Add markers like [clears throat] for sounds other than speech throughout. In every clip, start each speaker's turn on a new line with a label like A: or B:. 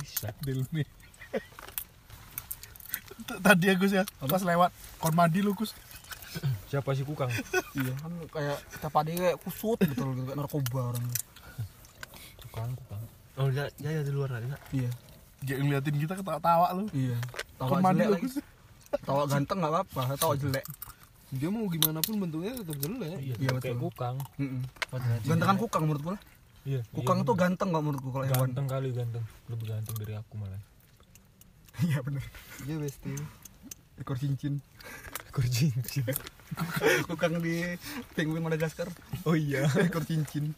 A: Bisa deal nih. T- Tadi ya Gus ya, pas lewat kon mandi lu Gus.
B: Siapa sih kukang?
C: iya kan kayak kita pade kayak kusut betul gitu kayak narkoba orang
B: Kukang, kukang. Oh, dia dia di luar tadi, Nak.
C: iya
A: Dia ngeliatin kita ketawa-tawa lu.
C: iya
A: Kon
C: tawa
A: mandi
C: jelek
A: lu
C: lagi
A: Gus.
C: tawa ganteng nggak apa-apa tawa jelek
D: dia Ya, mau gimana pun bentuknya tetap jelek
B: Iya,
C: Iya,
B: kayak
C: betul.
B: kukang.
C: Mm-mm.
B: Padahal
C: gantengan kukang menurut gua lah.
B: Iya.
C: kukang
B: iya,
C: tuh
B: bener.
C: ganteng nggak menurut gua kalau hewan
B: ganteng kali ganteng. Lebih ganteng dari aku malah.
C: [laughs] iya bener
D: dia besti
C: ekor cincin
B: Ekor cincin.
C: kukang di penguin Madagaskar
B: Oh iya.
C: [laughs] ekor cincin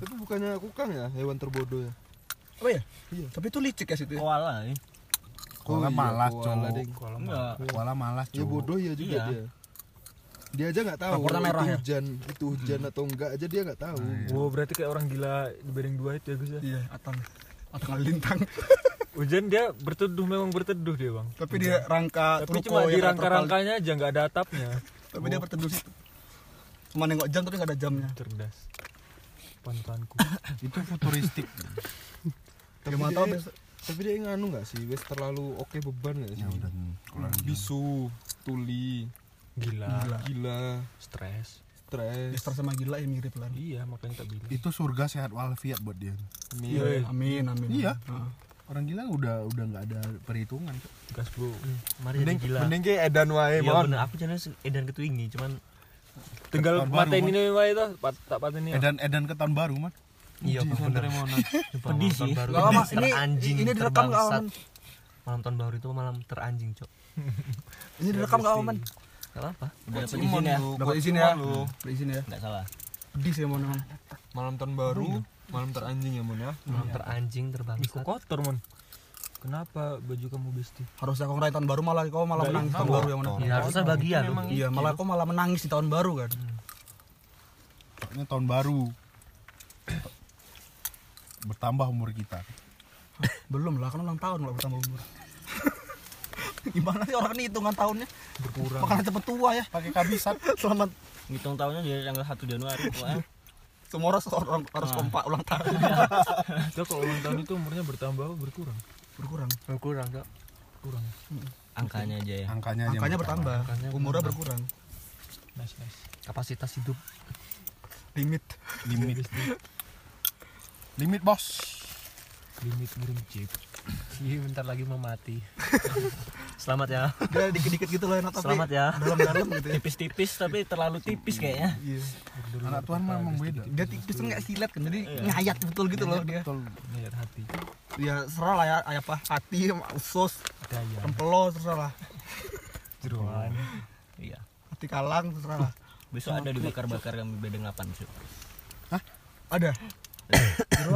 D: tapi bukannya kukang ya hewan terbodoh ya
C: apa ya iya. tapi itu licik ya situ ya?
E: koala ya
A: Koala malas,
D: koala
A: cowok.
D: deng.
B: Kalau
E: enggak
A: Kuala malas
D: ya
A: cowok.
D: bodoh ya juga
E: Iya.
D: dia dia aja nggak tahu
C: Rapornya merah
D: itu
C: ya?
D: hujan itu hujan atau enggak aja dia nggak tahu
B: Wow, berarti kayak orang gila dibanding dua itu ya, Gus ya.
C: iya atang atang lintang [laughs]
B: Hujan dia berteduh memang berteduh dia, Bang.
C: tapi dia rangka
B: Iya. Tapi
C: ruko
B: cuma Oh. di
C: yang ya, terpal-
B: rangka-rangkanya aja nggak ada
C: [laughs]
B: atapnya.
C: tapi dia berteduh situ cuma nengok jam tapi nggak ada jamnya
B: Cerdas.
C: [laughs]
B: Pantanku.
A: Itu futuristik.
D: tapi
C: Gimana
D: dia,
C: tahu besok?
D: tapi dia nganu nggak sih wes terlalu oke beban nggak sih
A: ya udah. Kuala
D: bisu tuli
B: Gila.
C: Gila.
D: gila
B: Stres.
D: stres
C: Dester sama gila ya mirip lah
B: Iya, makanya tak bilang.
A: itu surga sehat walafiat buat dia.
B: Iya.
C: amin amin Ah.
A: Iya.
C: Heeh.
A: Orang gila udah udah nggak ada perhitungan. Cok.
B: Gas, Bro.
C: Hmm.
E: mari jadi gila
D: kayak edan wae
E: iya bener aku channel edan ketwingi cuman
B: Tinggal
A: Tahun baru,
B: matain
A: Mon.
B: ini wae toh, pat- tak paten ini.
A: Edan edan ke tahun baru mah.
E: iya aku bener [laughs] Sumpah,
B: Pedih
E: malam tahun
B: sih.
E: baru
C: Gak lama, ini-
E: teranjing
C: ini direkam gak,
E: terbangsat.
C: Om?
E: malam tahun baru itu malam teranjing cok
C: ini direkam gak aman
E: gak apa
D: Udah
E: dapat izin ya
C: dapat izin ya dapat izin ya
E: nggak salah
C: pedih sih emang emang
D: malam tahun baru malam teranjing ya mon ya
C: Iya.
E: malam teranjing
B: Ih, kok
E: terbangsat
B: kotor, Mon? Kenapa baju kamu besti?
C: harusnya kau ngerayain tahun baru malah kau malah
B: Nggak,
C: menangis
B: iya,
C: tahun
B: tahu.
C: baru yang mana
E: ya harusnya bahagia loh
C: iya malah kau malah menangis di tahun baru kan
A: Ini tahun baru. Bertambah umur kita.
C: belum lah kan ulang tahun kalau bertambah umur [laughs] gimana sih orang ini hitungan tahunnya berkurang makanan cepet tua ya
A: Pakai kabisat.
C: [laughs] selamat
E: ngitung tahunnya dari tanggal 1 Januari ya.
C: [laughs]
E: pokoknya
C: semua orang orang harus kompak ulang tahun
B: Dia kalau ulang tahun itu umurnya bertambah apa berkurang?
C: berkurang
E: berkurang cok
B: Kurang.
E: angkanya aja ya
A: Angkanya aja
C: angkanya bertambah
B: Angkanya
C: umurnya berkurang
B: Nice, nice.
E: kapasitas hidup
C: limit
A: Limit.
E: Iya,
A: Limit bos.
B: Limit ngirim chip.
E: Iya, bentar lagi mau mati. Selamat ya. [laughs]
C: dia dikit-dikit gitu loh enak tapi
E: Selamat ya.
C: dalam-dalam gitu
E: [laughs]
C: ya
E: Tipis-tipis tapi terlalu tipis kayaknya.
C: Iya.
A: Anak Tuhan memang beda.
C: dia tipis tuh nggak silat kan jadi
E: Iya.
C: ngayat betul gitu loh dia
A: Betul.
B: Lihat hati.
C: ya serah lah ya ayah apa hati sama usus
E: ya.
B: Daya.
C: rempelo terserah lah
B: Jeruan.
E: Iya.
C: hati kalang terserah lah
E: Besok ada dibakar-bakar kami bedeng 8, Cuk.
C: ada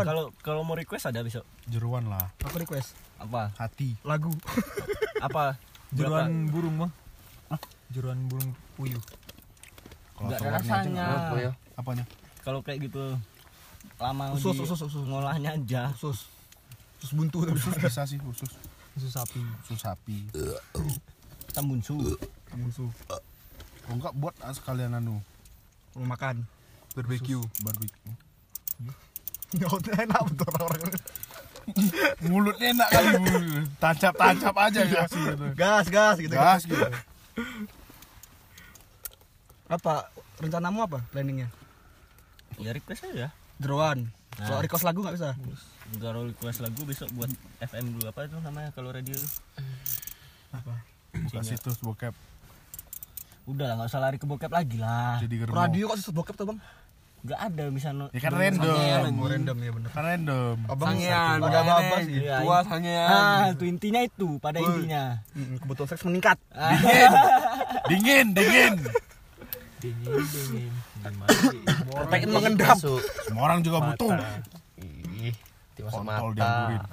E: Kalau kalau mau request ada besok.
A: Jeruan lah.
C: aku request
E: Apa?
A: Hati.
C: lagu
E: Apa?
B: Jeruan burung, Bang. Jeruan burung puyuh.
A: Kalau
E: Nggak ada
A: telurnya aja
E: rasanya.
A: nggak apa ya. Apanya?
E: Kalau kayak gitu lama
C: Usus,
E: Oh, di
C: usus, usus.
E: ngolahnya aja.
C: usus usus buntu tapi
A: Usus bisa sih usus.
B: Susu sapi.
A: Usus sapi.
E: Tambunsu.
C: musuh
A: Kalau enggak buat ah, sekalian anu
C: mau makan [laughs]
A: barbecue, barbecue.
C: nyautnya Ya, enak betul orang-orang
A: Mulutnya enak kali. Tancap-tancap aja kasih gitu.
C: gas gas gitu
A: Gas gitu.
C: apa rencanamu apa planningnya
E: Ya request aja.
C: jeroan
E: Nah.
C: kalau request lagu nggak bisa
E: Kalau request lagu besok buat FM dulu apa itu namanya kalau radio itu?
C: apa
A: Buka situs bokep
E: Udah lah, nggak usah lari ke bokep lagi lah.
A: jadi germo.
C: radio kok susu bokep tuh bang
E: Nggak ada misalnya.
A: Ya kan random.
C: mau random ya bener
A: Kan random.
C: abang
E: Sangean,
C: udah apa sih
E: Iya,
D: puas hanya
E: Ah, itu intinya itu pada intinya.
C: Mm, kebutuhan seks meningkat
A: Dingin, dingin.
B: Dingin, dingin. Gimana sih?
C: Pengen mengendap.
A: Semua orang juga butuh.
E: Ih, tiba
A: Kontol dianggurin.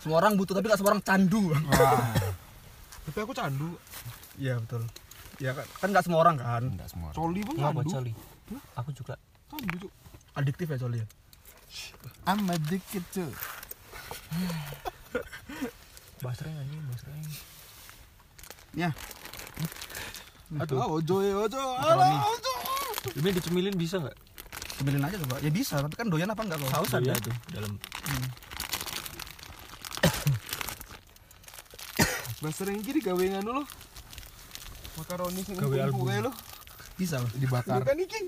C: semua orang butuh tapi gak semua orang candu Bang. [laughs]
A: Wah,
D: tapi aku candu
C: iya betul ya kan kan nggak semua orang kan
A: enggak semua. orang.
D: coli pun
E: Ngapa
D: candu
E: coli? Aku juga.
D: candu Cuk.
C: adiktif ya soalnya
A: I'm addicted
C: [sighs]
A: to.
B: Basreng anjing, basreng.
A: Ya,
D: Aduh, ojo ya, ojo. Alah, ojo.
B: Ini dicemilin bisa nggak?
C: Cemilin aja coba. Ya bisa, tapi kan doyan apa enggak lo?
B: Saus ada
E: Iya
B: tuh.
E: tuh dalam
D: Bahasa yang kiri gawengan lu. Makaroni sing
B: Gawe album.
D: kayak lu.
C: Bisa. Bro.
A: dibakar
D: Bukan iki.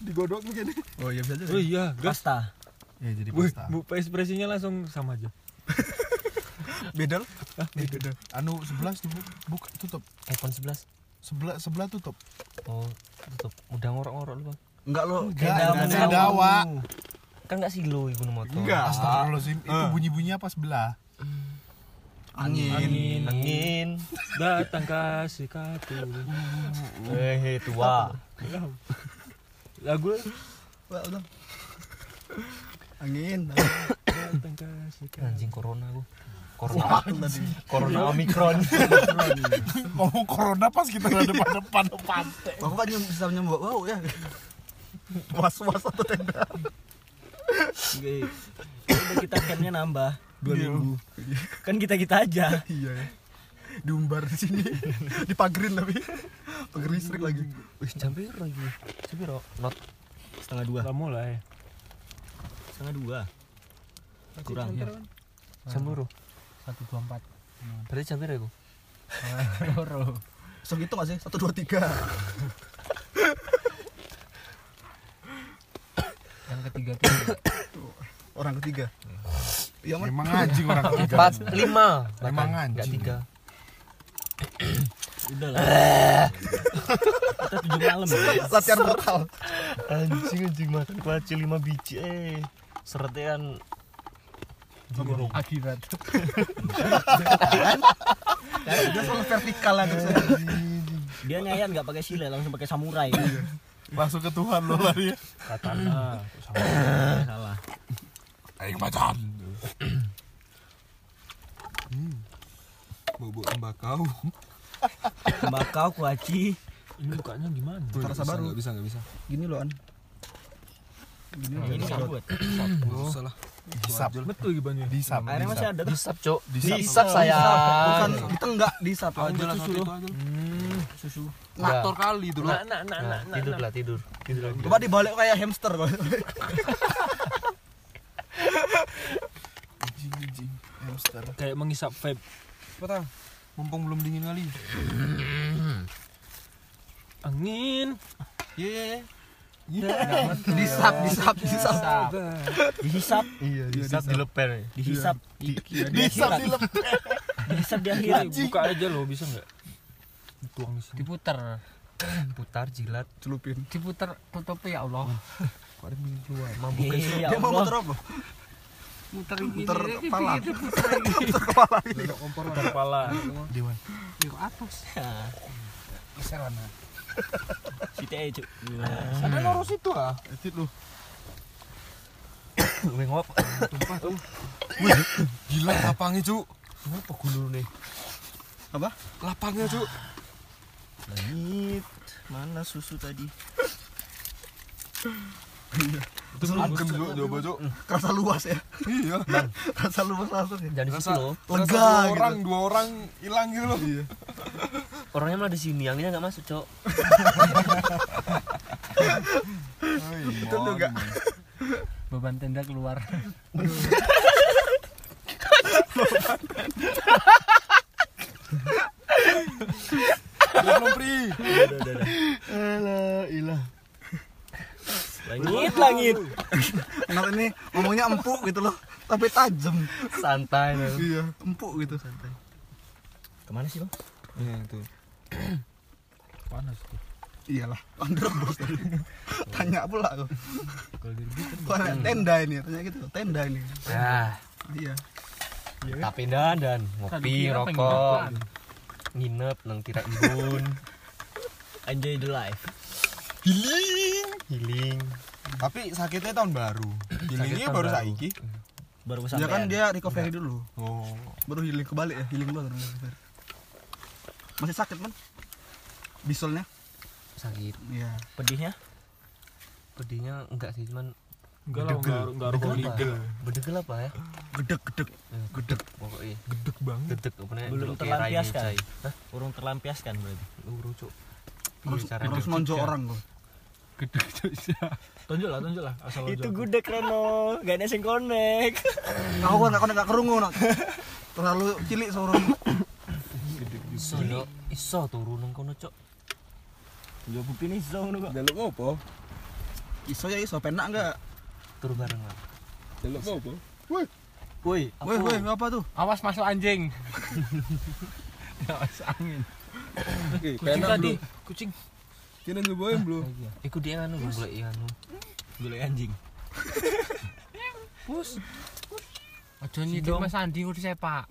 D: Digodok gini.
C: Oh iya bisa
B: Oh
C: juga.
B: iya, gas.
E: pasta.
A: ya jadi
B: Wih,
A: pasta
B: bu ekspresinya langsung sama aja.
C: Beda lo. Beda.
A: anu sebelas tuh bu- buka tutup
E: iPhone 11.
A: sebelah sebelah tutup
E: Oh, tutup. Udah ngorok-ngorok lu, Bang.
C: Enggak lo.
A: enggak
E: dalam
A: ada
E: dalam.
A: dawa
E: Kan enggak silo ibu motor.
A: astagfirullahaladzim itu
B: Eh.
A: bunyi bunyinya apa sebelah
C: Angin.
E: Angin. Angin.
B: Datang kasih kartu.
E: Eh, tua.
B: Lagu
C: Wah, udah. Angin.
B: datang kasih kartu.
E: Anjing corona gua. Corona. Iya.
C: Wah, tadi.
E: corona Omicron.
A: ngomong corona pas kita udah depan depan pantai
C: Aku kan nyem- bisa nyembok wow ya. Was-was atau tenda.
E: Oke. Udah kita campnya nambah dua minggu. Kan kita kita aja.
C: Iya ya. Diumbar di sini. [laughs] Dipagerin tapi. Pagar listrik lagi.
E: Wih, jam piro iki? Jam piro? Not setengah dua.
B: Gak mulai.
E: Setengah dua. Kurang.
B: Jam loro.
A: iya. satu dua empat
E: Berarti ya, jam piro iku?
C: Bisa gitu gak sih? Satu dua tiga.
F: yang ketiga tuh
C: Orang ketiga. Iya man.
A: emang anjing [laughs] orang ketiga
E: Empat, lima.
A: Lima
E: Bahkan.
A: anjing.
E: Nggak tiga. Udah lah. Kita tujuh malam. ya.
C: Iya, Latihan vokal.
E: Anjing anjing makan kuaci lima biji eh. Seretean
F: akhirat
C: Dia selalu vertikal aja.
E: dia nyayan nggak pakai sile langsung pakai samurai.
A: langsung ke Tuhan lo lari ya
B: Katana.
E: Salah.
A: ayo macan
D: Bau-bau tembakau.
E: Tembakau kuaci.
B: [clears throat] Ini bukanya gimana?
D: Nggak
C: Terasa
D: bisa,
C: baru.
D: nggak bisa, nggak bisa.
C: Gini loh an. Gini loh.
E: Ini nggak buat.
D: Nggak usah lah.
A: disap
B: Betul gimana?
A: disap
E: Airnya masih
A: disap.
E: ada tuh.
F: sap cok
A: Disap.
E: Disap sayang.
C: Bukan kita enggak di satu
D: Aja lah,
C: susu
D: satu
C: lo.
D: itu aja lah.
C: Susu.
D: Kotor kali dulu.
B: Nah, nah, nah, nah,
E: Nah,
B: nah.
E: tidur lah tidur. Tidur lagi.
C: Coba dibalik kayak hamster kalau.
A: anjing anjing hamster
B: Kayak mengisap vape.
D: Cepetan. Mumpung belum dingin kali.
B: Angin.
D: Iya, iya, iya.
C: Disap, disap, disap.
E: Dihisap,
C: Iya,
E: dihisap dileper. Dihisap,
A: disap di lep
E: dihisap di akhirat.
B: Ini buka aja loh, bisa nggak? Tuang di sini.
F: diputer
E: Putar jilat.
C: celupin.
F: diputer tutupi ya Allah
E: Mampu
C: Dia mau muter apa?
F: muter
C: Muter kepala.
B: Putar kepala.
A: dewan
F: di atas
A: kisaran
E: Kita aja.
D: Ada lurus itu ah.
A: itu lo
E: Wengop.
D: Gila lapangnya, Cuk.
E: Apa gulu nih?
C: Apa?
D: Lapangnya, Cuk.
E: Langit. Mana susu tadi?
D: Itu adem, Cuk. Coba, Cuk.
C: [laughs] Kerasa luas ya.
D: Iya.
C: Kerasa luas langsung ya.
E: Jangan di situ
D: Rasa-
E: loh.
D: rasa
C: Lega
D: dua
C: gitu.
D: orang, dua orang hilang gitu loh. Iya.
E: Orangnya malah di sini, anginnya nggak masuk,
C: [laughs]
E: Cok.
C: Itu juga.
F: beban tenda keluar
D: Belum pri.
E: Langit, langit.
C: Kenapa ini ngomongnya empuk gitu loh, tapi tajam.
E: Santai. loh.
C: Iya, empuk gitu santai.
E: Kemana sih, Bang?
D: Iya, itu.
B: Panas tuh.
C: Iyalah, under bos tadi. Tanya pula tuh.
B: Kalau direbus kan
C: Wah, tenda ini, tanya gitu, tenda ini.
E: Ah,
C: Iya.
E: tapi dan dan ngopi,
F: Kira penginapan.
E: rokok, nginep nang kira embun. Enjoy the life.
D: Healing.
E: Healing.
D: Tapi sakitnya tahun baru. Healingnya baru saiki.
E: Baru
C: Ya
E: kesampean.
C: kan dia recovery dulu,
D: Oh.
C: baru healing kebalik ya, healing dulu baru recovery. Masih sakit kan? Bisolnya?
E: sakit.
C: Iya.
E: Pedihnya? Pedihnya enggak sih, cuman
B: enggak lah, enggak enggak rokok
E: Bedegel
B: legal.
E: apa? Bedegel apa ya?
C: Gedek gedek.
E: Gedek pokoknya.
B: Gedek banget.
E: Gedek apa nih?
B: Belum
E: Gedek kayak rai
B: terlampiaskan.
E: ngecai. Hah? Urung terlampiaskan berarti. Urung, Cuk.
C: Harus
E: Cara ya.
C: harus
E: gedek.
C: nonjok orang loh.
B: Tunjuk lah, tunjuk lah asal lo
E: Itu
B: jawab.
E: gudeg Rono, gak ada yang connect.
C: Kau kan nggak nggak kerungu nak. Terlalu cilik seorang.
F: Iso lo, iso turu nang kono cok.
E: Yo bukti nih song ngono kok.
D: Jaluk ngopo?
C: Iso ya iso penak nggak?
E: Turu bareng lah.
D: Jaluk ngopo?
E: Woi,
C: Woi woi apa tuh?
F: Awas masuk anjing. Awas angin.
D: Oke,
F: Kucing
D: penak
F: tadi,
D: bro.
F: kucing.
D: Kena nyobain belum?
F: Ikut dia anu golek anu.
E: golek anjing.
F: Pus. Aja nyidik Mas Andi kudu sepak.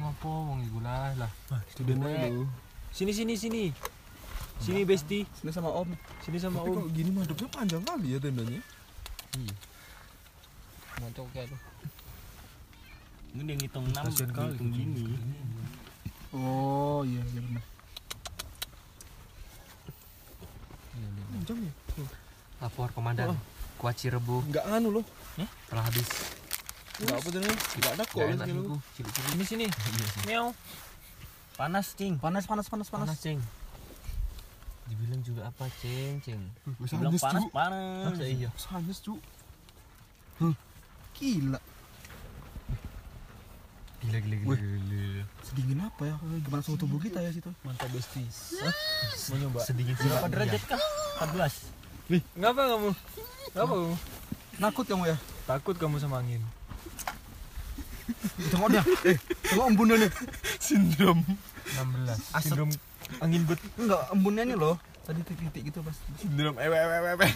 F: Ngopo wong iku lah lah.
D: Sudah
F: Gue.
D: lu.
E: Sini sini sini. Sini Besti,
C: Sini sama Om.
E: sini sama
D: Tapi
E: Om.
D: kok gini madepnya panjang kali ya tendanya.
F: Moncok kayak tuh.
E: Ini dia ngitung 6 ngitung gini.
C: Oh iya iya benar.
D: Panjang ya?
F: Lapor komandan.
E: Oh.
F: Kuat Cirebo
D: Enggak anu loh.
F: telah habis.
D: Enggak apa jenenge? Enggak ada kok gitu.
F: Gak enak
D: lu.
F: iku. Cilik-cilik.
E: Sini sini. Meow. Panas, Cing.
C: Panas panas panas panas.
E: Panas, Cing. Dibilang juga apa, Cing, Cing?
D: Wis
E: Dibilang
D: anjes
E: panas,
D: cu.
E: panas. Iya.
D: Wis anjes cu.
C: Gila.
F: Gila gila gila. gila.
C: Sedingin apa ya? Gimana suhu tubuh kita ya situ?
B: Mantap besti.
E: Mau nyoba. Sedikit berapa derajat kah? 14.
B: Ngapa kamu? Ngapa kamu?
C: Nakut kamu ya?
B: Takut kamu sama angin.
C: [laughs] Tengok dia. Eh, tengok embunnya nih.
B: 16. Sindrom angin bet.
C: Enggak, embunnya nih loh. Tadi titik-titik gitu pas.
A: Sindrom ewe ewe ewe, [laughs] ewe.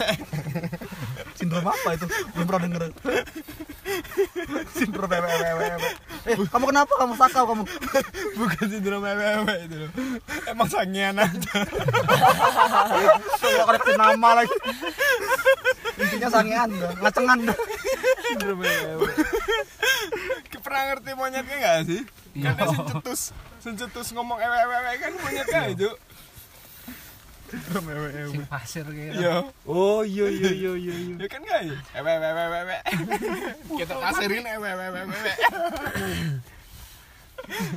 C: Sindrom apa itu? Belum pernah denger. [laughs] Sindrom ewe ewe ewe, ewe. Eh, kamu kenapa? Kamu sakau kamu. [laughs]
A: Bukan sindrom ewe ewe itu loh. Emang sangean aja.
C: Kalau korektif nama lagi. Intinya sangean, dah. ngacengan. dah.
A: Ki Pernah ngerti monyetnya enggak sih? Kan dia sencetus. Sencetus ngomong ewe ewe ewe kan monyetnya itu. Sindrom ewe ewe.
F: Sing pasir kayak.
A: Yo,
B: Oh iya iya iya iya. iya.
A: ya kan guys. Ewe ewe ewe ewe, ewe. Kita pasirin ewe ewe ewe ewe.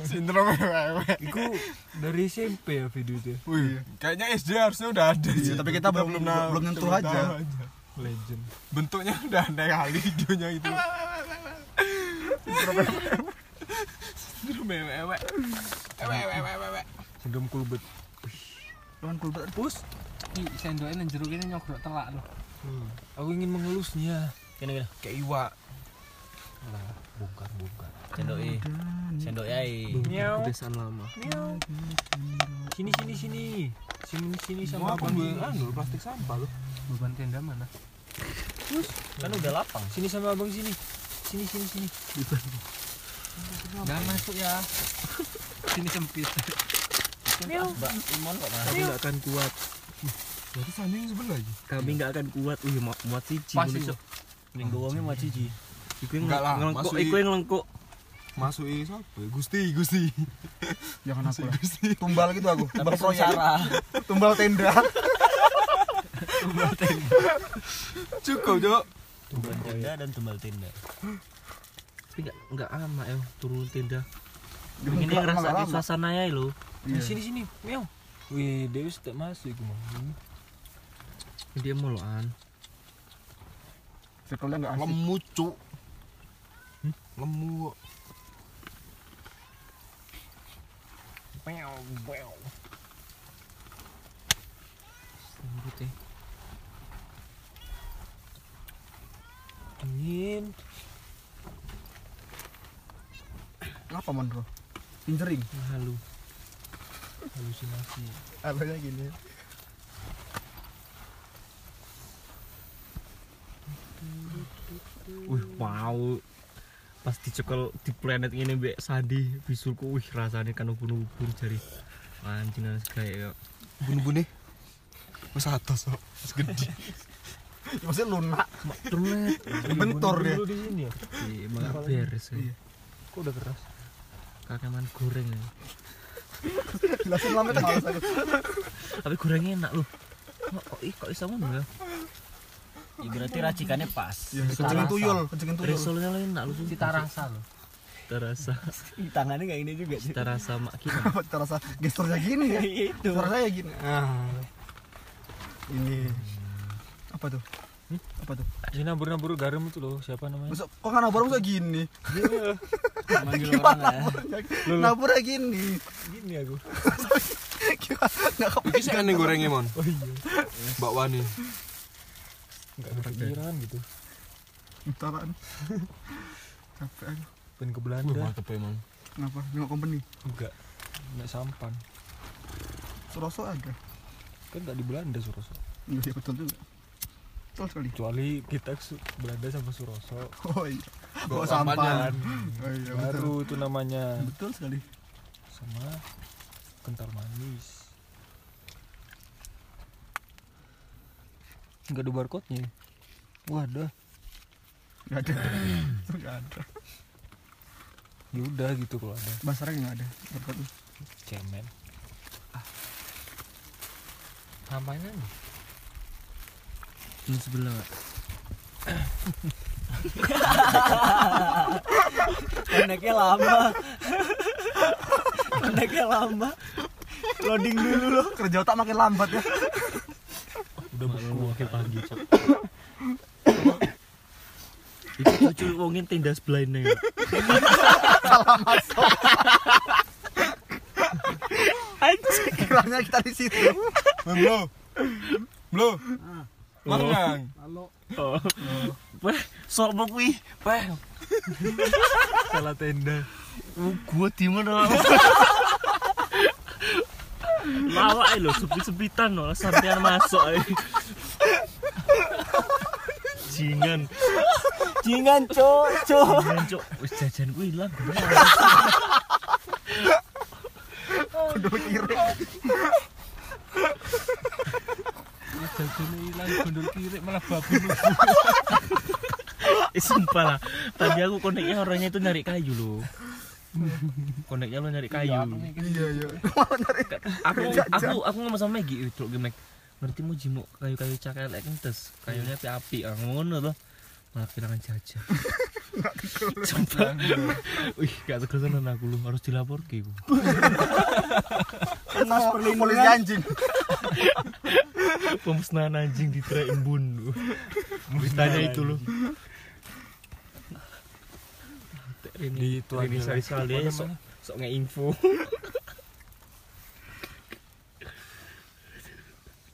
A: Sindrom ewe ewe.
B: Iku [laughs] dari SMP ya video itu. ya?
A: Wih, kayaknya SD harusnya udah ada sih.
C: Iya, tapi kita belum-
A: tahu-
C: belum nyentuh
A: belum
C: aja.
A: tahu
B: Legend.
A: Bentuknya udah ada kali videonya itu. Sindrom ewe ewe. Ewe ewe ewe ewe.
B: Sindrom kulbet.
C: Cuman kulbet.
B: Pus.
F: Ih, sendoknya nang jero kene nyogrok telak loh.
B: Hmm. Aku ingin mengelusnya.
E: Gini Nah, gini.
A: Kayak iwa.
E: Sendok E. Sendok E.
B: Miau.
F: Desaan lama.
B: Sini sini sini. Sini sini
D: Mau
B: sama
D: aku
B: abang
D: beli
B: ini.
D: anu plastik sampah loh.
F: Beban tenda mana?
E: Kan udah lapang.
B: Sini sama abang sini. Sini sini sini.
F: Jangan masuk ya. Sini sempit.
E: Mbak Imon kok mana?
D: Aku enggak akan kuat. Jadi sana yang sebelah lagi.
E: Kami nggak akan kuat. Wih, mak muat cici.
F: Pas
E: ngono,
F: itu.
E: Cok. Ning gowonge muat cici. Iku yang
D: Enggak lah,
E: ngelengkok,
D: masuk
E: iku
D: i-
E: yang ngelengkok.
D: Masuk ini siapa? Gusti, Gusti.
C: Jangan aku lah. Tumbal gitu aku.
E: Tapi
C: Tumbal proyek.
E: sengsara.
C: Tumbal tenda.
D: Cukup, Cok.
E: Tumbal tenda dan tumbal tenda. Tapi nggak nggak lama ya turun tenda. Ini
C: Nggak
E: ngerasa
C: lama.
E: suasana ya lo.
B: Nah, sini sini. Miau. Wih, Dewi tak masuk iku mau.
E: Dia molokan.
C: Circle-nya nggak asik.
D: Lemu, Cok. Lemu.
E: ya.
B: Angin.
C: Apa mon bro? Pinjering.
E: Halu.
B: Halusinasi.
D: Apanya gini?
E: Wih, mau pas dicekel di planet ini mbek sadi bisulku wih rasanya kan ubun-ubun jari anjing harus kayak
D: Bun-bune. Wes atas kok. Wes gede.
C: Ya, Maksudnya lunak.
E: terlet
C: Bentor dia.
B: Dulu di sini ya.
E: Iya, emang gak beres ya.
C: Iya.
B: Kok udah keras?
E: Kakek man goreng ya.
C: Jelasin lama kan males aku.
E: Tapi gorengnya enak loh. Kok kok ih, kok bisa ngono ya? Ya berarti racikannya pas.
C: Kencengin tuyul, kencengin tuyul.
E: Risolnya lo enak loh.
F: Cita rasa loh.
E: terasa
C: tangannya kayak ini juga sih
E: terasa mak kita
C: Kenapa terasa gesturnya gini [laughs] ya?
E: itu
C: Suara saya gini. Ah. Ini apa tuh? Apa tuh?
B: Ini nabur-nabur garam itu loh, siapa namanya?
C: Masuk, kok kan nabur masuk gini?
F: [laughs] manggil orang
C: Gimana
F: lah ya.
C: naburnya? Naburnya gini. [laughs]
B: Gini aku.
C: Gimana? Nggak
D: Iki
C: kepegang.
D: sih aneh gorengnya mon. Oh iya. Mbak Wani.
B: Enggak kepikiran gitu.
C: [laughs] Taraan. Capek aku.
B: Pengen ke Belanda.
D: mantep ya mon.
C: Kenapa? Nengok company.
B: Enggak. Enggak sampan.
C: Suroso ada.
B: Kan enggak di Belanda Suroso.
C: Iya betul juga. Betul sekali. [laughs]
B: Kecuali kita ke Su- Belanda sama Suroso.
C: Oh iya. Bawa
D: sampan.
C: sampan. Oh iya betul.
B: Baru itu namanya
C: Betul sekali.
B: sama kental manis.
F: Enggak ada barcode-nya. Waduh,
C: Enggak [laughs] ada. Enggak ada.
B: Ya udah gitu kalau ada
C: Basarang enggak ada. Berkat lu.
B: cemen. Ah.
F: ngapain aja?
E: di sebelah Pak.
F: Koneknya lama. Koneknya lama.
C: Loading dulu loh. Kerja otak makin lambat [laughs] ya.
B: Udah
E: malam
B: buku.
E: wakil pagi Cok. itu lucu wongin tenda
F: [laughs]
E: sebelahnya Pak.
C: Kiranya kita di situ.
A: Blo. Blo. Mangang.
E: Oh. Weh, sok mau kuih. Weh. Salah tenda. Oh, gua di mana? Lawak ae lho, sepit-sepitan lho, sampean masuk
F: [laughs]
E: ae. Jingan,
F: Jingan, cok, cok.
E: jingan cok. Wis jajan ku ilang.
C: Kudu kiri.
B: Jajan hilang gondol kiri malah babi lu.
E: [laughs] Eh, sumpah lah. Tadi aku koneknya orangnya itu nyari kayu lho. Koneknya lo nyari kayu.
C: Iya iya.
E: aku aku aku ngomong sama Maggie itu gemek ngerti mau jimuk kayu-kayu cakar lek kentes kayunya api-api ah, ngono loh malah kehilangan jajah coba wih gak tegesan aku lu harus dilapor ke iku
C: Kena polisi anjing.
E: pemusnahan anjing di trek embun lu beritanya itu lu
B: Di itu
E: Rini
B: aja lah.
E: Sarisal dia
B: Apa
E: sok
B: namanya?
E: sok nge-info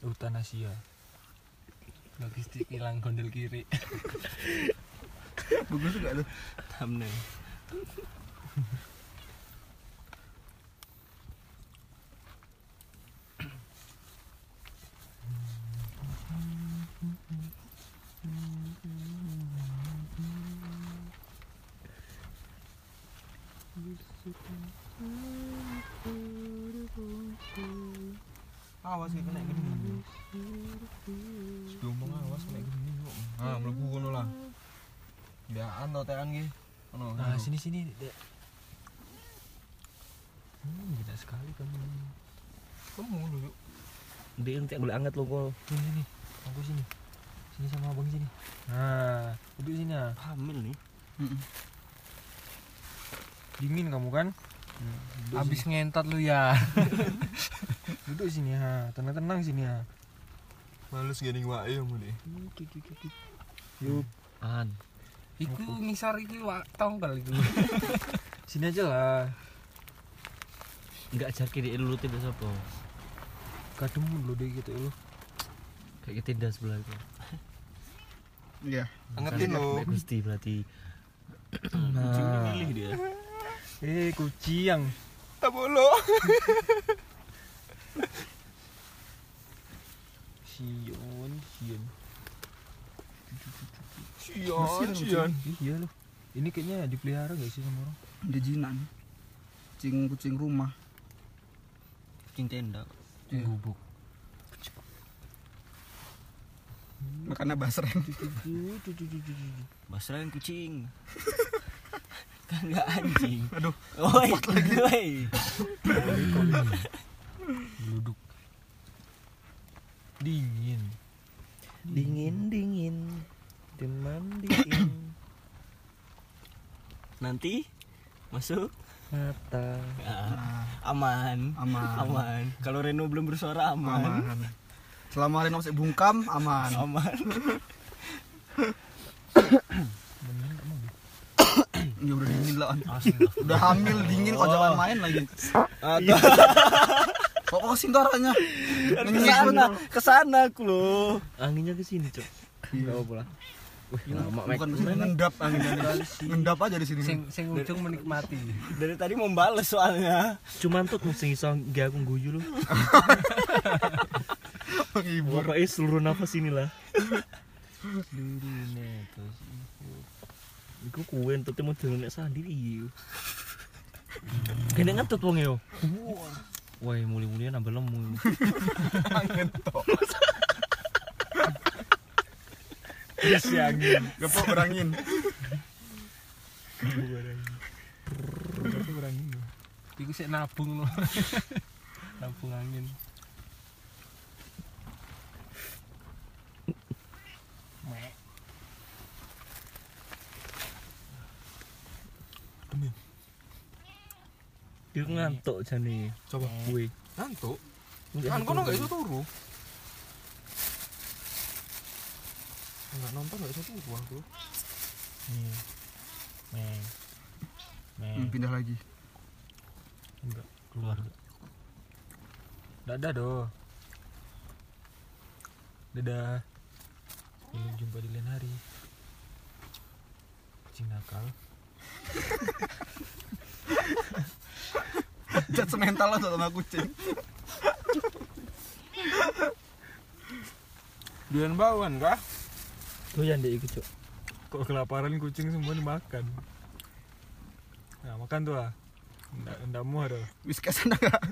B: Hutan Asia.
F: Logistik hilang gondel kiri.
C: Bagus juga tuh.
E: thumbnail
C: Awas ya kena gini.
D: Domong awas nek gini kok. Ah mlebu kono lah. Biaan to tekan ki. Ono.
B: Nah, sini sini, Dek. Hmm, gila sekali kamu.
D: kamu ngono yuk.
E: dia nanti gue anget lo kok
B: Sini sini. Aku sini. Sini sama Abang sini. Nah, duduk sini ah.
E: hamil nih
B: Dingin kamu kan?
F: Abis ngentot lu ya.
B: Duduk sini ha. Tenang-tenang sini ah. ha.
D: Males gini wae ya mule.
E: an
F: Iku ngisor iki wak tongkel iku.
B: [laughs] Sini aja lah.
E: nggak ajar kiri lu tiba siapa
B: Kadung lu deh gitu lu.
E: kayak tenda sebelah itu
C: Iya.
D: Angetin lo.
E: Nek Gusti berarti nah,
D: dia.
B: Eh, kuciang. [laughs]
A: Tabolo.
B: Sion, Sion.
D: Iya,
A: Sion,
G: Kan?
A: Sion.
B: Ih, Iya loh. Ini kayaknya dipelihara gak sih sama orang?
C: Ada jinan. Kucing kucing rumah.
E: kucing tenda
C: Iya.
E: gubuk
C: Makanya basren.
E: masalahin kucing kan nggak anjing
C: Aduh.
E: oi oi
B: Geluduk. Dingin.
E: dingin dingin
B: [coughs]
E: demam dingin nanti masuk Ah.
G: mata
C: Nah,
B: Ah,
E: aman
C: aman.
E: aman kalau Reno belum bersuara aman
C: Aman. Selama Reno masih bungkam aman.
E: aman
C: Ya udah dingin lah. An. Udah hamil dingin kok jalan main lagi. Kok kok sintoranya?
E: kesana kesana aku loh
G: anginnya ke sini cok
B: Iya.
G: nggak apa lah Wih, lama Mac.
C: Bukan mesin ngendap anginnya. Ngendap aja di sini.
H: sing sing ujung menikmati
E: dari tadi membales soalnya
G: Cuman tuh mesti iso gak aku
E: [laughs]
G: guyu lu.
C: Penghibur.
G: Pokoknya seluruh nafas inilah. Iku kue entut mau jalan nek sandi iyo. Kene ngentut wong e, yo. Wah, muli-muli nambah lemu.
B: Isi angin.
C: Gepok berangin.
H: iku sik nabung loh [laughs] nabung angin
G: Dia ngantuk jane.
B: Coba.
G: Kue.
B: Ngantuk. Kan kono gak iso turu. Enggak nonton gak iso turu aku.
C: Hmm, Pindah lagi.
G: keluar.
H: dadah doh dadah Sampai jumpa di lain hari kucing nakal
C: Jat semental lah sama kucing.
B: Duan bauan kah? Oh iya,
G: Doyan dek iku, Cok.
B: Kok kelaparan kucing semua dimakan. Nah, makan tuh ah. Ndak ndak muar.
C: Whiskas ada enggak?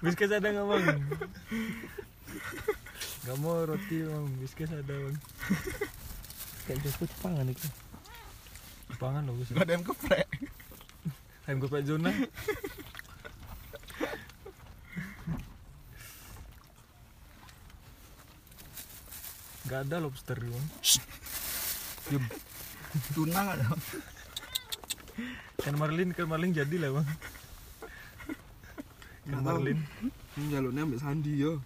B: Biskuit ada enggak, Bang? Gak mau roti, Bang. Biskuit ada, Bang.
G: Kayak jago Jepangan iki.
B: Jepangan loh, Gus.
C: Enggak ada yang keprek.
B: Kan gue Pak Zona. Gak ada lobster, Bang.
C: Tuna enggak ada.
B: Kan Marlin, kan Marlin jadi lah, Bang. Kan Marlin.
D: jalurnya ambil sandi yo.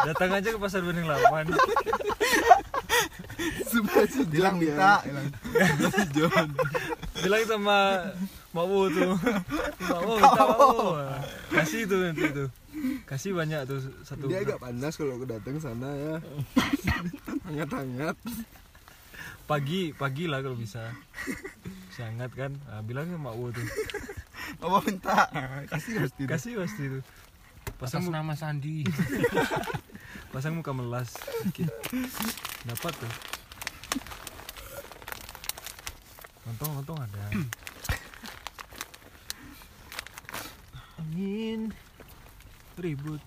B: Datang aja ke Pasar Bening Lapan.
C: Sumpah sih bilang minta. bilang.
B: Bilang sama Mbak Wo tuh. Mbak Wo, minta Mbak Wo. Kasih tuh nanti tuh. Kasih banyak tuh satu.
D: Dia agak panas kalau aku datang sana [laughs] ya. Hangat-hangat.
B: pagi pagi lah kalau bisa sangat kan ah, bilang sama Wo tuh
C: Apa minta? Kasih harus tidak.
B: kasih pasti tuh pasang
H: atas
B: mu-
H: nama Sandi
B: pasang muka melas dikit. dapat tuh untung untung ada angin ribut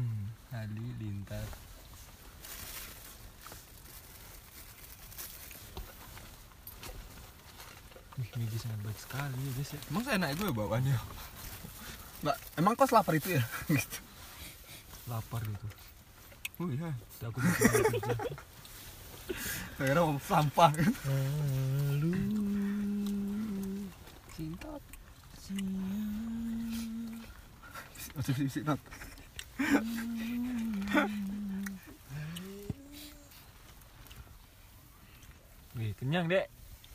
B: hmm. halilintar Wih, Migi sangat baik sekali ya guys ya
D: Emang enak gue bawaannya.
C: Enggak, emang kau lapar itu ya? Gitu.
B: Lapar gitu
D: Oh iya.
B: Udah, aku mau pulang kerja.
C: Saya kira mau sampah.
G: Lalu
C: Masih bisik nat.
B: Wih, kenyang dek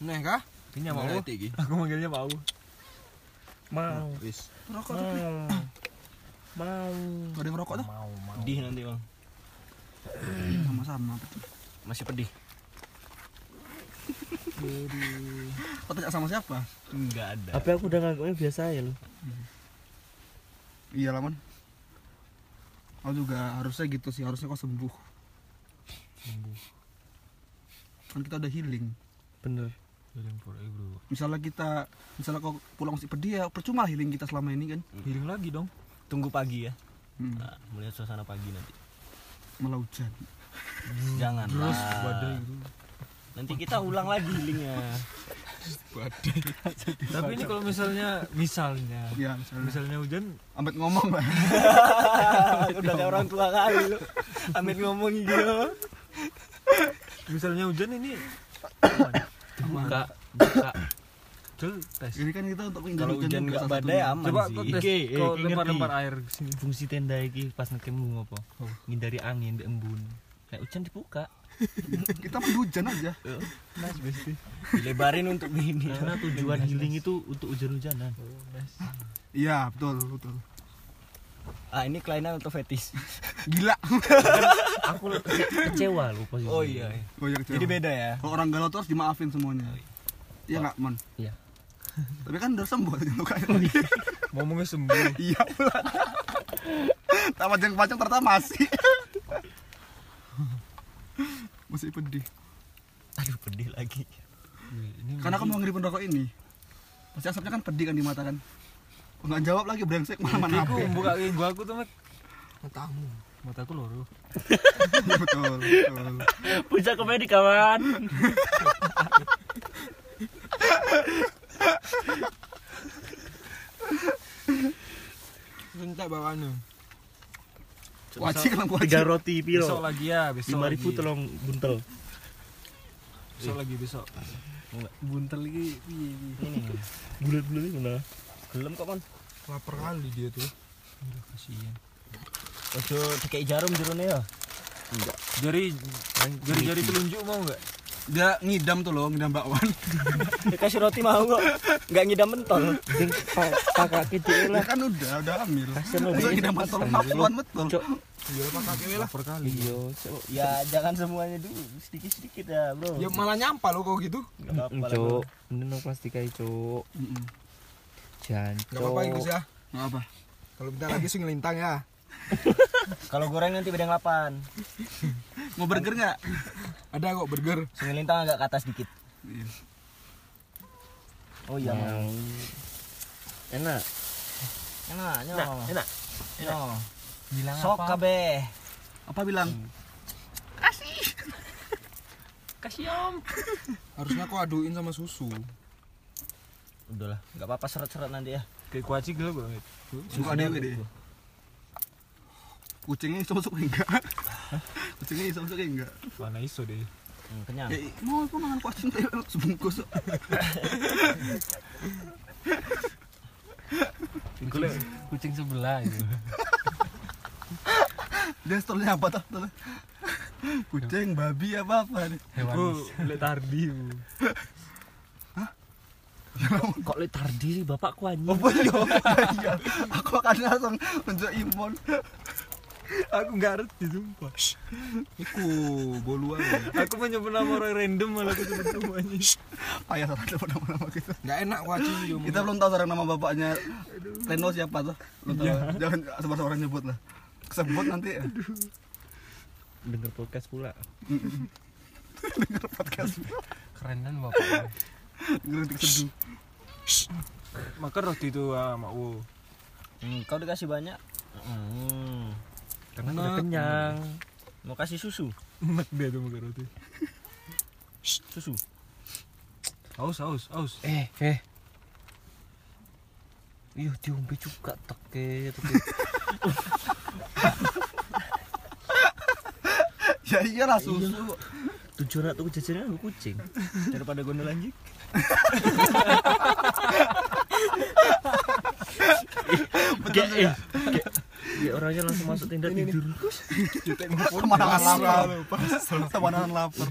D: Nih kah?
B: Kenyang mau
D: Enak iki.
B: Aku manggilnya mau
G: mau
D: Wis.
C: Rokok tapi.
G: mau mau
C: Gak ada yang merokok dah.
B: Mau mau
E: pedih nanti bang
C: Sama-sama.
E: masih pedih
C: Kau tanya sama siapa?
E: nggak ada
G: tapi aku udah nganggapnya biasa ya lo
C: Iya laman. Kau juga harusnya gitu sih, harusnya kau sembuh.
B: Sembuh
C: Kan kita udah healing.
G: bener
B: Healing for you, bro
C: Misalnya kita, misalnya kau pulang masih pedih ya, percuma lah healing kita selama ini kan.
E: Hmm.
B: Healing lagi dong
E: tunggu pagi ya
C: Hmm,
E: Nah, melihat suasana pagi nanti
C: malah hujan.
E: jangan
B: Terus badai gitu
E: nanti kita ulang lagi [laughs] linknya
B: Tapi ini kalau misalnya Misalnya
C: Ya, misalnya.
B: Misalnya
E: [laughs]
B: hujan
C: Amit ngomong lah. [laughs]
E: udah kayak orang tua kali lu amit ngomong gitu
B: Misalnya hujan ini
E: dibuka buka Dul, tes.
C: Ini kan kita untuk menghindari
D: Kalau hujan nggak
C: salah
D: badai
C: satunya.
D: aman
E: Coba
D: sih.
E: kau tes,
D: Oke, eh,
E: kau
D: ngerti.
E: lempar-lempar air ke sini. Fungsi tenda iki pas nekemu apa? Ngindari angin mbek embun. Kayak hujan dibuka.
C: Kita mau hujan aja.
D: Dilebarin untuk ini.
E: Karena [laughs] tujuan healing itu untuk hujan-hujanan.
C: Iya, betul, betul.
D: Ah, ini kelainan atau fetis?
C: [laughs] Gila.
E: Aku le- kece- kecewa loh posisi.
D: Oh iya.
C: Oh, yang
D: Jadi beda ya. Oh,
C: Kalau orang galau tuh harus dimaafin semuanya. Iya nggak, Mon?
E: Iya.
C: Tapi kan udah
D: [laughs]
C: sembuh tadi lukanya.
D: Oh, iya.
A: Ngomongnya sembuh.
C: Iya pula. Tamat yang pacung ternyata masih. masih pedih.
D: Aduh, pedih lagi.
E: Ini
C: Karena kamu ngeri rokok ini. Pasti asapnya kan pedih kan di mata kan. Enggak jawab lagi brengsek mana-mana
A: Aku
C: apa. ya?
A: buka gua aku tuh Mek.
B: Matamu.
A: mataku loro.
C: betul, betul.
E: puncak komedi [laughs] kawan.
A: Minta bawaannya.
C: Wajik kan wajik.
E: Tiga roti
A: Besok
E: piro.
A: lagi ya, besok.
E: Iya. Lima
A: lagi.
E: ribu tolong buntel.
A: Besok lagi besok.
E: Enggak.
A: Buntel lagi piye iki?
E: Bulat-bulat ini mana? Gelem kok kan.
A: Lapar kali dia tuh. Aduh kasihan.
D: Ojo dikei jarum jerone ya.
A: Jari jari-jari telunjuk mau enggak?
C: Dia ngidam tuh loh, ngidam bakwan.
D: Dikasih roti mau kok. Enggak ngidam mentol.
E: Ding pakake dhewe
C: Dia
E: lah.
C: kan udah, udah hamil.
E: Kasian loh,
C: Terus
E: dia
C: ngidam
E: pas
C: betul,
E: hamil.
C: bakwan betul.
E: Cok.
A: Lapar kali.
E: Iya,
D: Ya jangan semuanya dulu, sedikit-sedikit ya, Bro.
A: Ya malah nyampah lo kok gitu.
D: Nggak apa-apa lah,
E: Cok. Ini no plastik ae, Cok.
C: Mm-mm.
A: Enggak apa-apa Gus
E: Jancok.
A: ya.
C: Nggak apa.
A: Kalau bentar lagi sing lintang ya.
D: Kalau goreng nanti bedeng 8.
C: Mau burger nggak?
A: Ada kok burger.
D: Sengelintang agak ke atas dikit.
C: Iya.
D: Oh iya, Bang.
E: Enak.
D: Enak, nyo.
E: enak.
D: Nyo.
F: Bilang
D: Sok
F: apa?
D: kabeh.
C: Apa bilang?
A: Harusnya aku aduin sama susu.
D: Udahlah, enggak apa-apa seret-seret nanti ya.
A: Kayak kuaci gelo banget.
C: Suka ada gede. Kucingnya iso masuk enggak? Kucingnya iso masuk enggak?
A: Mana iso deh.
D: Hmm, kenyang.
C: Ya, mau aku makan kucing kayak sebungkus.
F: Kucing sebelah itu.
C: Dia stolnya apa tuh? Stolnya. Kucing, babi apa apa nih?
F: Hewan.
A: [laughs] lek tardi.
E: Kok letardi sih bapak ku anjing.
C: Apa yo? Iya. Aku akan langsung menunjuk Imon.
A: Aku enggak ngerti sumpah.
C: Iku boluan.
A: Aku mau nyebut nama orang random malah aku sebut namanya.
C: Ayah salah dapat nama-nama kita.
A: Enggak enak kuaci yo.
C: Kita belum tahu sekarang nama bapaknya Reno siapa tuh. Belum tahu. Jangan sembar orang nyebut lah. Kesebut nanti ya.
E: Denger podcast pula.
C: Denger podcast.
F: Kerenan bapak.
C: Ngerti seduh.
A: makan roti itu ah, mak wo.
D: Hmm, kau dikasih banyak. Hmm.
E: Karena udah kenyang.
D: Mau kasih susu.
A: Enak dia tuh makan roti.
D: Susu.
A: Aus aus aus.
E: Eh, eh. Iya, diombe juga teke, teke.
C: Ya iyalah susu.
E: Iya. Tujuan aku jajanan aku kucing.
D: Daripada gondol anjing.
E: Kayak eh. kayak- kayak orangnya langsung masuk tenda tidur.
C: sama nahan lapar sama nahan lapar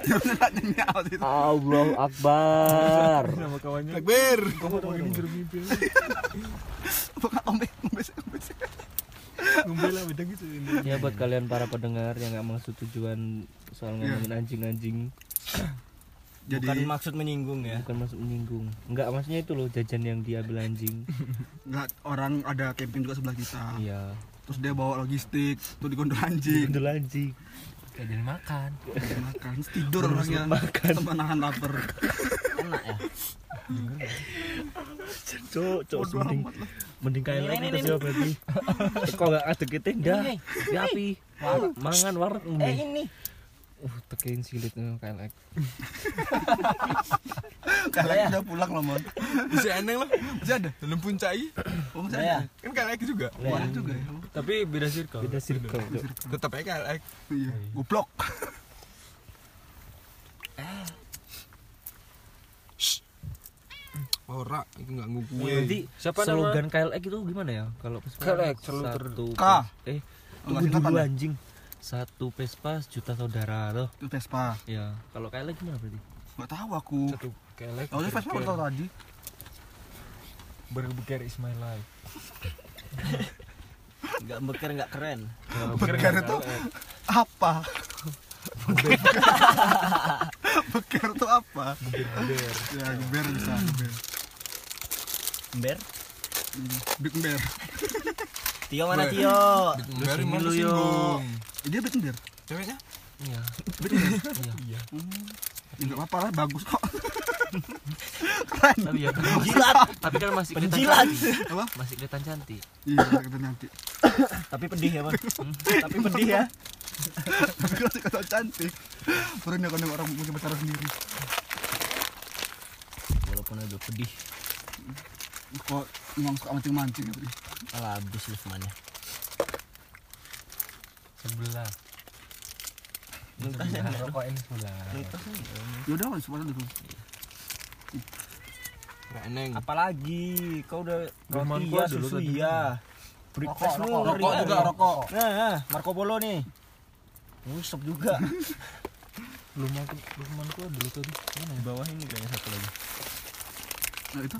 C: Tidurnya tak nyenyak waktu itu.
E: Allahu Akbar.
C: takbir
A: Ngomong ini jeruk mimpi.
C: [laughs] buka ombe ombe ombe
A: Ngombe lah bedang gitu ini.
E: Ya buat kalian para pendengar yang nggak maksud tujuan soal ngomongin anjing-anjing
C: Iya. jadi
D: Bukan maksud menyinggung ya.
E: bukan masuk menyinggung. Enggak maksudnya itu loh jajan yang diambil
C: [laughs]
E: anjing.
C: nggak orang ada camping juga sebelah kita
E: Iya.
C: terus dia bawa logistik tuh digondol anjing
E: Itu anjing.
F: Gak jadi makan.
C: makan Terus tidur orangnya sama nahan lapar
D: Enak ya.
E: Cok, cok
C: Bodoh
E: mending
C: amat lah.
E: mending kayak
D: Ini,
E: lagi
D: ini,
E: terus ya
D: [laughs]
E: berarti. Kok enggak ada ke tenda? Ya api. Mangan warung.
D: Eh ini.
E: Uh, tekein silit kayak
C: kalian udah pulang loh mon
A: Bisa eneng lah. Bisa ada dalam puncak ini.
C: oh masih ada
D: Ya.
A: Kan KLX juga.
C: kemarin juga ya
A: Tapi beda circle.
E: beda circle. Cok.
A: Tetap aja KLX.
C: iya goblok
E: Ora, itu enggak nguku.
C: Iya,
D: Nanti
B: Siapa nama?
D: slogan KLX itu gimana ya? Kalau Vespa
B: KLX, selalu ter-
D: satu
C: K.
D: Vespa- eh
C: Enggak
D: tunggu
C: singkatan
D: dulu
C: ya?
D: anjing. Satu Vespa juta saudara loh.
C: Itu Vespa.
D: Ya, kalau KLX gimana berarti?
C: Enggak tahu aku.
B: Satu kelek.
C: Oh, ini Vespa udah tahu tadi.
B: Bergeger is my life.
E: Enggak beker enggak keren.
C: Beker itu apa? Beker itu apa? Ya, geber bisa, geber.
E: Ember?
C: Big bear.
E: Tio mana Tio?
D: Dari
E: mana
D: lu
E: sih,
D: yo.
E: Bung?
C: Eh, Dia big bear.
E: Ceweknya?
D: Iya.
C: Enggak Hmm. Ya, apa-apa lah, bagus kok.
D: Tapi
E: [laughs]
D: ya,
E: Jilat,
D: tapi kan masih kelihatan
E: Penjilat.
D: cantik.
C: Apa?
D: Masih kelihatan cantik.
C: Iya, kita nanti.
E: tapi pedih ya, Bang.
A: Hmm.
E: tapi pedih ya.
C: Kalau kata cantik. Pernah kan orang punya pacar sendiri.
E: Walaupun agak pedih,
C: Kok memang suka mancing-mancing gitu.
E: malah habis Lukmannya.
B: Sebelah.
E: Nuntasnya enggak.
B: Rokok ini sebelah.
E: Nuntasnya enggak.
C: Ya udah, wes, semuanya dulu.
E: Neng. Apalagi kau udah roti
B: Gurmanku
E: ya,
B: dulu
E: susu
B: tadi.
E: ya. Breakfast lu
C: rokok,
E: ngeri
C: rokok
E: kan?
C: juga, rokok.
E: Nah, nah, Marco Polo nih. Ngusep juga.
B: Lumanku, lumanku dulu tadi. Mana ya?
E: Bawah ini kayaknya satu lagi.
C: Nah, itu.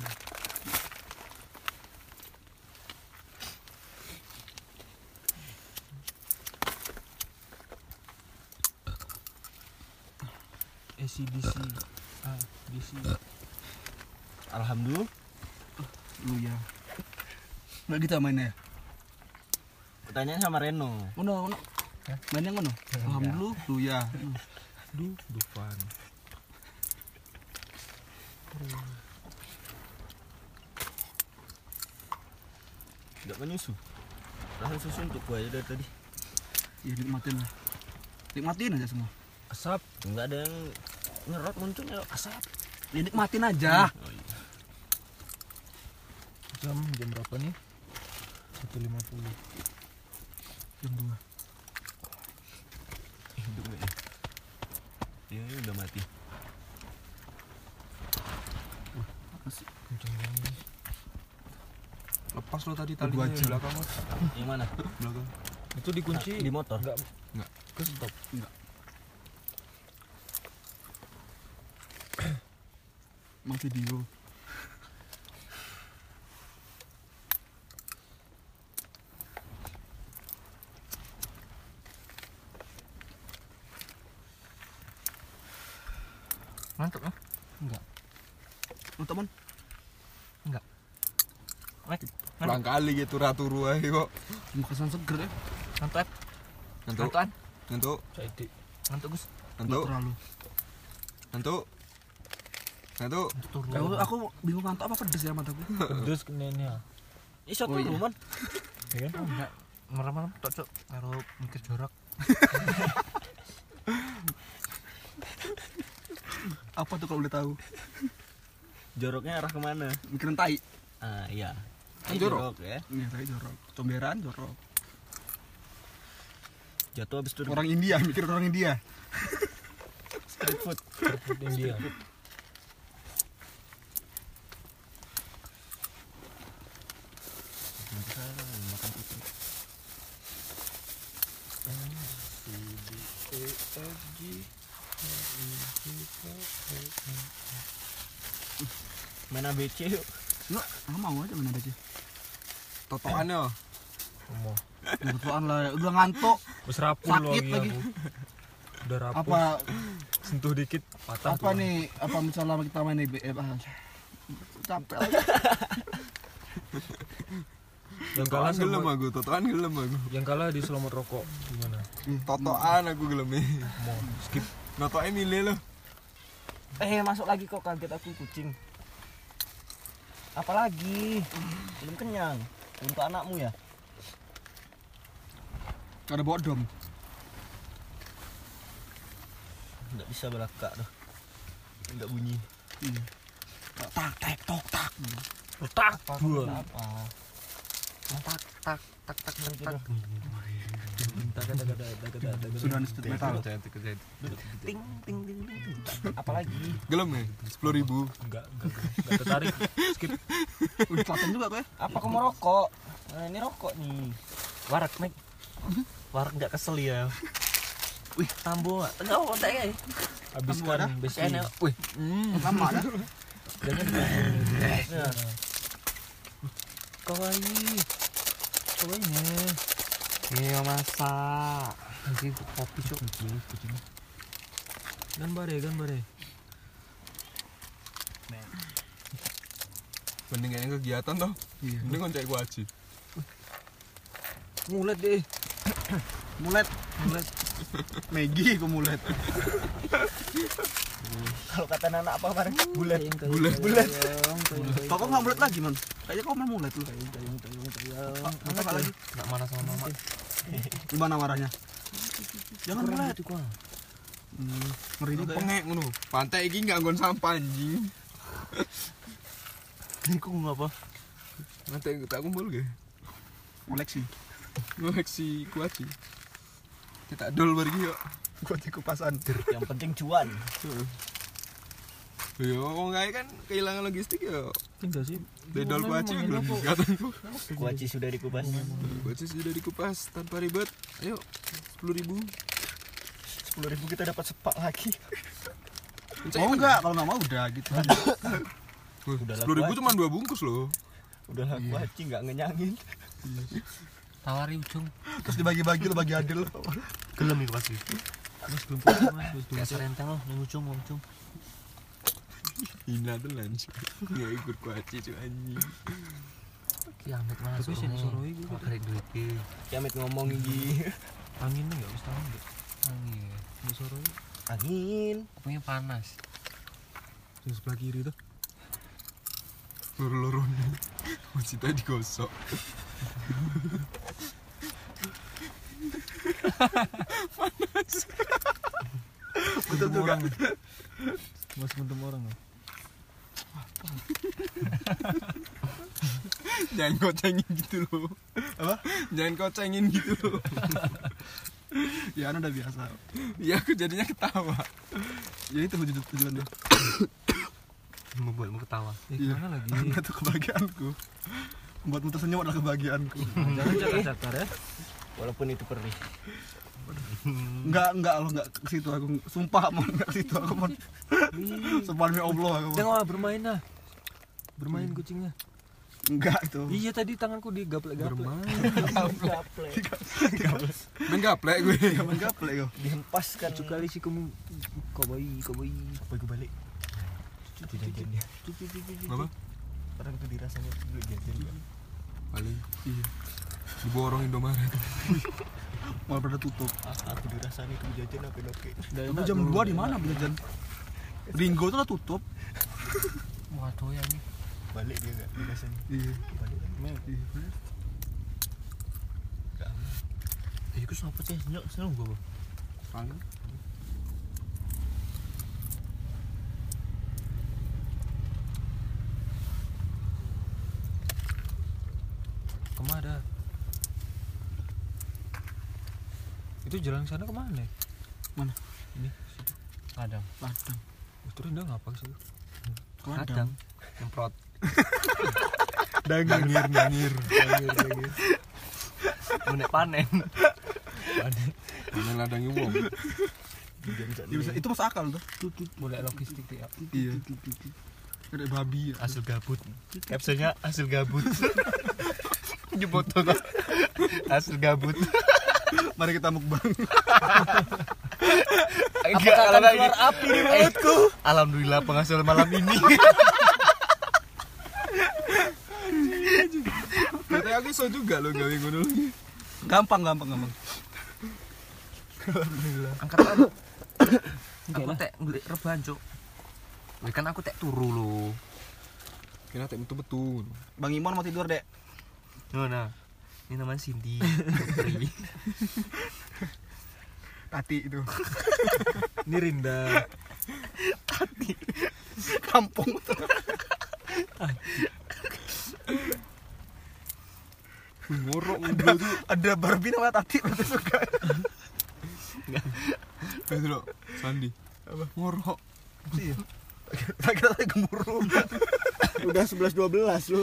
B: ACDC. Ah, DC.
E: [laughs] Alhamdulillah.
C: Lu ya. Enggak gitu mainnya. ya?
E: Pertanyaan sama Reno.
C: Udah, udah. Mainnya ngono. Alhamdulillah, lu ya.
B: Du, Dufan.
E: Enggak menyusu. Langsung susu untuk gua aja dari tadi.
C: Ya nikmatin lah. Nikmatin aja semua.
E: Asap. Enggak ada yang nyerot muncul nyerot asap.
C: Ya nikmatin aja.
B: Hmm. Jam jam berapa nih? 1.50.
C: Jam 2.
E: Hidup gue. Dia ini Iya, udah mati.
B: Kenceng banget.
E: Lepas lo tadi
B: Tadi di belakang Mas.
E: Yang mana? Ah,
B: belakang. Itu dikunci.
E: Nah, Di motor.
B: Enggak enggak ke stop.
C: Emang video.
B: Mantap ah. Enggak.
C: Lu teman?
E: Pulang kali gitu ratu ruah kok.
C: Makanan seger ya.
B: Mantap.
E: Ngantuk.
B: Mantuan.
E: Ngantuk.
B: Jadi. Mantap Gus.
C: Nggak
E: Ngantuk.
C: terlalu.
E: Ngantuk. Ngantuk.
B: Turun.
C: Kamu aku bingung mantap apa pedes ya mataku.
B: pedes kenenya.
E: Ih, satu rumah.
B: Ya kan? Enggak. Merem-merem tok cuk. Karo mikir jorok.
C: Apa tuh kalau boleh tahu?
E: Joroknya arah kemana?
C: Mikirin tai.
E: Ah, iya.
C: Kan
E: Ini
C: jorok.
E: ya.
C: Iya, tai jorok. Comberan jorok.
E: Jatuh habis itu
C: Orang India, mikir orang India.
E: street food.
B: India.
E: Main ABC yuk.
C: Enggak, aku mau aja mana aja.
E: Totoannya.
B: Omong.
C: Kebetulan lah, udah ngantuk.
B: Wis rapul
C: Sakit
B: wangi
C: lagi.
B: aku. Udah rapul.
C: Apa
B: Sentuh dikit patah.
C: apa nih? Apa misalnya kita main IBM? Ah, Capek lagi.
B: Yang kalah
E: gelem
B: sama
E: aku, totoan gelem aku.
B: yang kalah di selamat rokok gimana?
C: Iya.
E: Totoan aku gelem.
B: Mau skip
E: Notoke milih lo.
I: Eh masuk lagi kok kaget aku kucing.
E: Apalagi? Belum kenyang. Untuk anakmu ya?
C: Ada bodom.
E: Enggak bisa belakang tuh. Enggak bunyi.
C: Iya. Tak tak tok tak.
B: retak gua.
E: Apa?
B: Bentar.
C: Sudah di sudut metal.
E: ting ting ting ting ting. apalagi
D: Gelem ya? Sepuluh ribu.
E: enggak enggak enggak tertarik skip
C: Wih, Selatan juga kok ya.
E: apa kamu rokok nah, ini rokok nih warak mek warak nggak kesel ya wih tambo enggak apa tak kayak habiskan
C: Kan
E: besok enak wih
C: Lama dah.
E: jangan kawaii kawaii nih
A: Iya masa. Nanti kopi cok.
E: gambar ya gambar ya
D: Mendingan kegiatan toh.
A: Iya.
D: Mending koncek gua aji.
E: ngulet deh
C: Mulet.
E: ngulet
C: Megi gue mulet. Kalau kata anak apa kemarin? Bulet.
D: Bulet.
C: Bulet. Kok kau nggak mulet lagi non? Kayaknya kau main mulet lu. Apa- Apa lagi?
A: Enggak marah sama mama.
C: Gimana marahnya? Jangan mulet.
A: Itu gua.
C: Hmm, Ngeri juga ya.
D: Pengek ngono. Pantai iki nggak nggon sampah
C: [laughs]
D: anjing.
E: ini kok nggak apa
D: Nanti tak kumpul gak?
C: Koleksi.
D: Ngoleksi ku aji. Kita dol pergi yuk.
C: Gue di kupasan.
E: yang penting cuan
D: Yo, wong kae kan kehilangan logistik ya. yo.
B: Enggak sih.
D: Dedol ku aji belum kataku.
E: kuaci sudah dikupas
D: Ku aji sudah dikupas tanpa ribet. Ayo, sepuluh ribu.
E: sepuluh ribu kita dapat sepak lagi
C: Mau nggak? Kalau nggak mau udah gitu.
D: Sepuluh ribu cuma dua bungkus loh.
E: udah lah kuaci nggak ngenyangin
A: Tawari ujung.
C: Terus dibagi-bagi lu bagi adil.
A: Gelem iku pasti.
B: Mas belum puas mas. Mas belum
A: Kayak serenteng loh, ning ujung, wong ujung.
D: Hina tuh lanjut. Ya ikut ku aji cuy anjing.
A: Ki
E: Iya,
A: amit mas.
B: Tapi sih disoroi gue.
A: Pakai duit ki.
E: kiamat ngomong gini
B: Anginnya enggak wis tahu enggak.
A: Angin.
B: Disoroi.
E: angin
A: Kopinya panas.
B: Yang sebelah kiri tuh.
D: Lur-lurune. Masih tadi gosok.
B: Bentuk orang. Mas bentuk orang. ya.
D: Jangan kocengin gitu loh.
C: Apa?
D: Jangan kocengin gitu loh.
C: Ya kan udah biasa.
D: ya aku jadinya ketawa.
C: Ya itu tujuan tujuan dia.
A: Membuatmu ketawa.
B: Eh
D: Iya.
B: kemana lagi?
C: Karena [laughs] itu kebahagiaanku. Membuatmu tersenyum adalah kebahagiaanku.
B: Jangan cakar-cakar ya.
E: walaupun itu perih
C: Enggak, enggak lo enggak ke situ aku. Sumpah mon enggak ke situ aku mon. Sumpah demi Allah aku. Mon.
B: Tengok ah, bermain lah. Bermain kucingnya.
C: Enggak itu.
B: Iya tadi tanganku digaplek-gaplek.
E: gaple
D: Main gaplek gue.
C: Jangan gaplek kau.
E: dihempaskan
B: Tujuh kali sih kamu kawai kawai.
E: apa gue balik itu jajan dia
D: Apa?
E: orang tuh dirasanya dulu jajan dia
D: Paling iya. Diborong Indomaret.
C: [laughs] Malah pada tutup.
E: Ah, aku dirasanya itu jajan apa oke
C: Tapi jam 2 di mana belajar? Ringo tuh udah tutup.
A: Waduh ya nih.
E: balik dia nggak dirasanya
C: Iya.
E: balik lagi
A: Eh, iku sapa sih? Nyok, seneng gua. Bang.
D: Paling
B: Kemana? Itu jalan sana kemana? ya?
C: Mana?
B: Ini. situ.
A: Kadang.
C: Ladang.
B: Oh, terus dia ngapa sih?
C: Ke
A: Kadang.
B: [laughs]
A: Nyemprot.
D: dangir dangir.
A: Menek panen.
D: Mana ladangnya wong.
C: Iya, bisa- itu masuk akal tuh.
A: Boleh logistik ya.
C: Iya. Kayak babi ya.
A: hasil gabut captionnya hasil
D: [laughs]
A: gabut nyebut tuh hasil gabut
C: Mari kita mukbang.
A: Enggak, akan keluar api di mulutku alhamdulillah penghasil malam ini
D: Katanya aku iso juga loh gawe ngono.
C: Gampang, gampang, gampang.
A: angkat aku tek ngulik rebahan cuk Wih, kan aku tek turu lo
D: Kira tak metu-metu. ngono.
C: Bang Imon mau tidur, Dek.
A: nah, nah. ini namanya Cindy Putri
C: Tati itu.
B: Ini Rinda.
C: Kampung. ngorok ngobrol tuh
D: Ada Barbie namanya Tati berarti suka.
C: guys lo Sandi
D: Apa?
C: ngorok
D: Iya. Saya kira tadi gemuruh.
J: Udah 11 12 lu.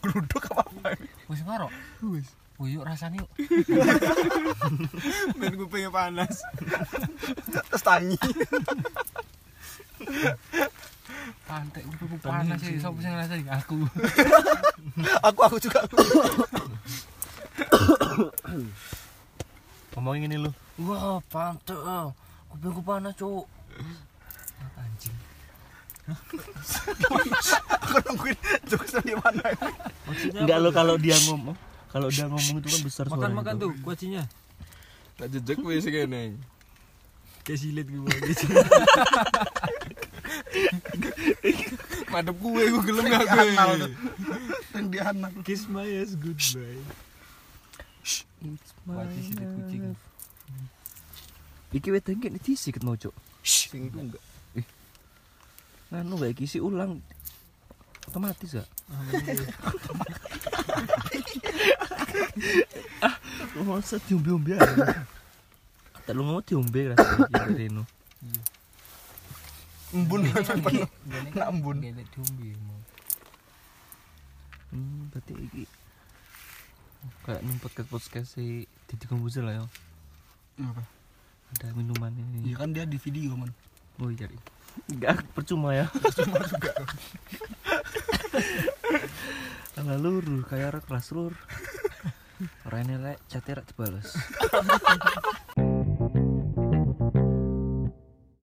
D: Geluduk apa apa ini?
A: Wis marok.
C: Wis.
A: Wih, yuk rasanya yuk.
C: dan gue pengen panas
D: Terus tangi.
A: Pantai udah panas sih. Sopo sing ngerasain aku.
D: Aku aku juga.
K: ngomongin ini lu
A: Ya, Wah, pantai. Kupingku panas, Cuk. Anjing.
D: Aku nungguin jokes dari mana.
E: Enggak lo kalau dia ngomong, kalau dia ngomong itu kan besar suaranya.
A: Makan-makan tuh kuacinya.
C: tak jejek wis kene
A: Kayak silet gue.
C: madep gue gue gelem gak
D: Anal
C: gue
D: tuh. Yang di anal.
A: Kiss my ass goodbye.
K: Wajib sidik kucing
E: Iki wedang kene disikat mau cuk.
J: Sing itu enggak.
E: Eh. Nganu gak kisi ulang otomatis gak? [laughs] ah, mau set diombe-ombe aja. Tak lu mau diombe rasanya gitu Reno.
D: Embun. [laughs] Nak embun.
A: Gelek diombe mau.
E: Hmm, berarti iki kayak nih podcast podcast si Didi Kombuzer lah ya.
D: Apa?
E: Ada minuman ini.
D: Iya kan dia di video man.
E: Oh iya. Enggak percuma ya. Percuma juga. Ala luru e kayak rek kelas lur. Rene rek chatnya rek dibales.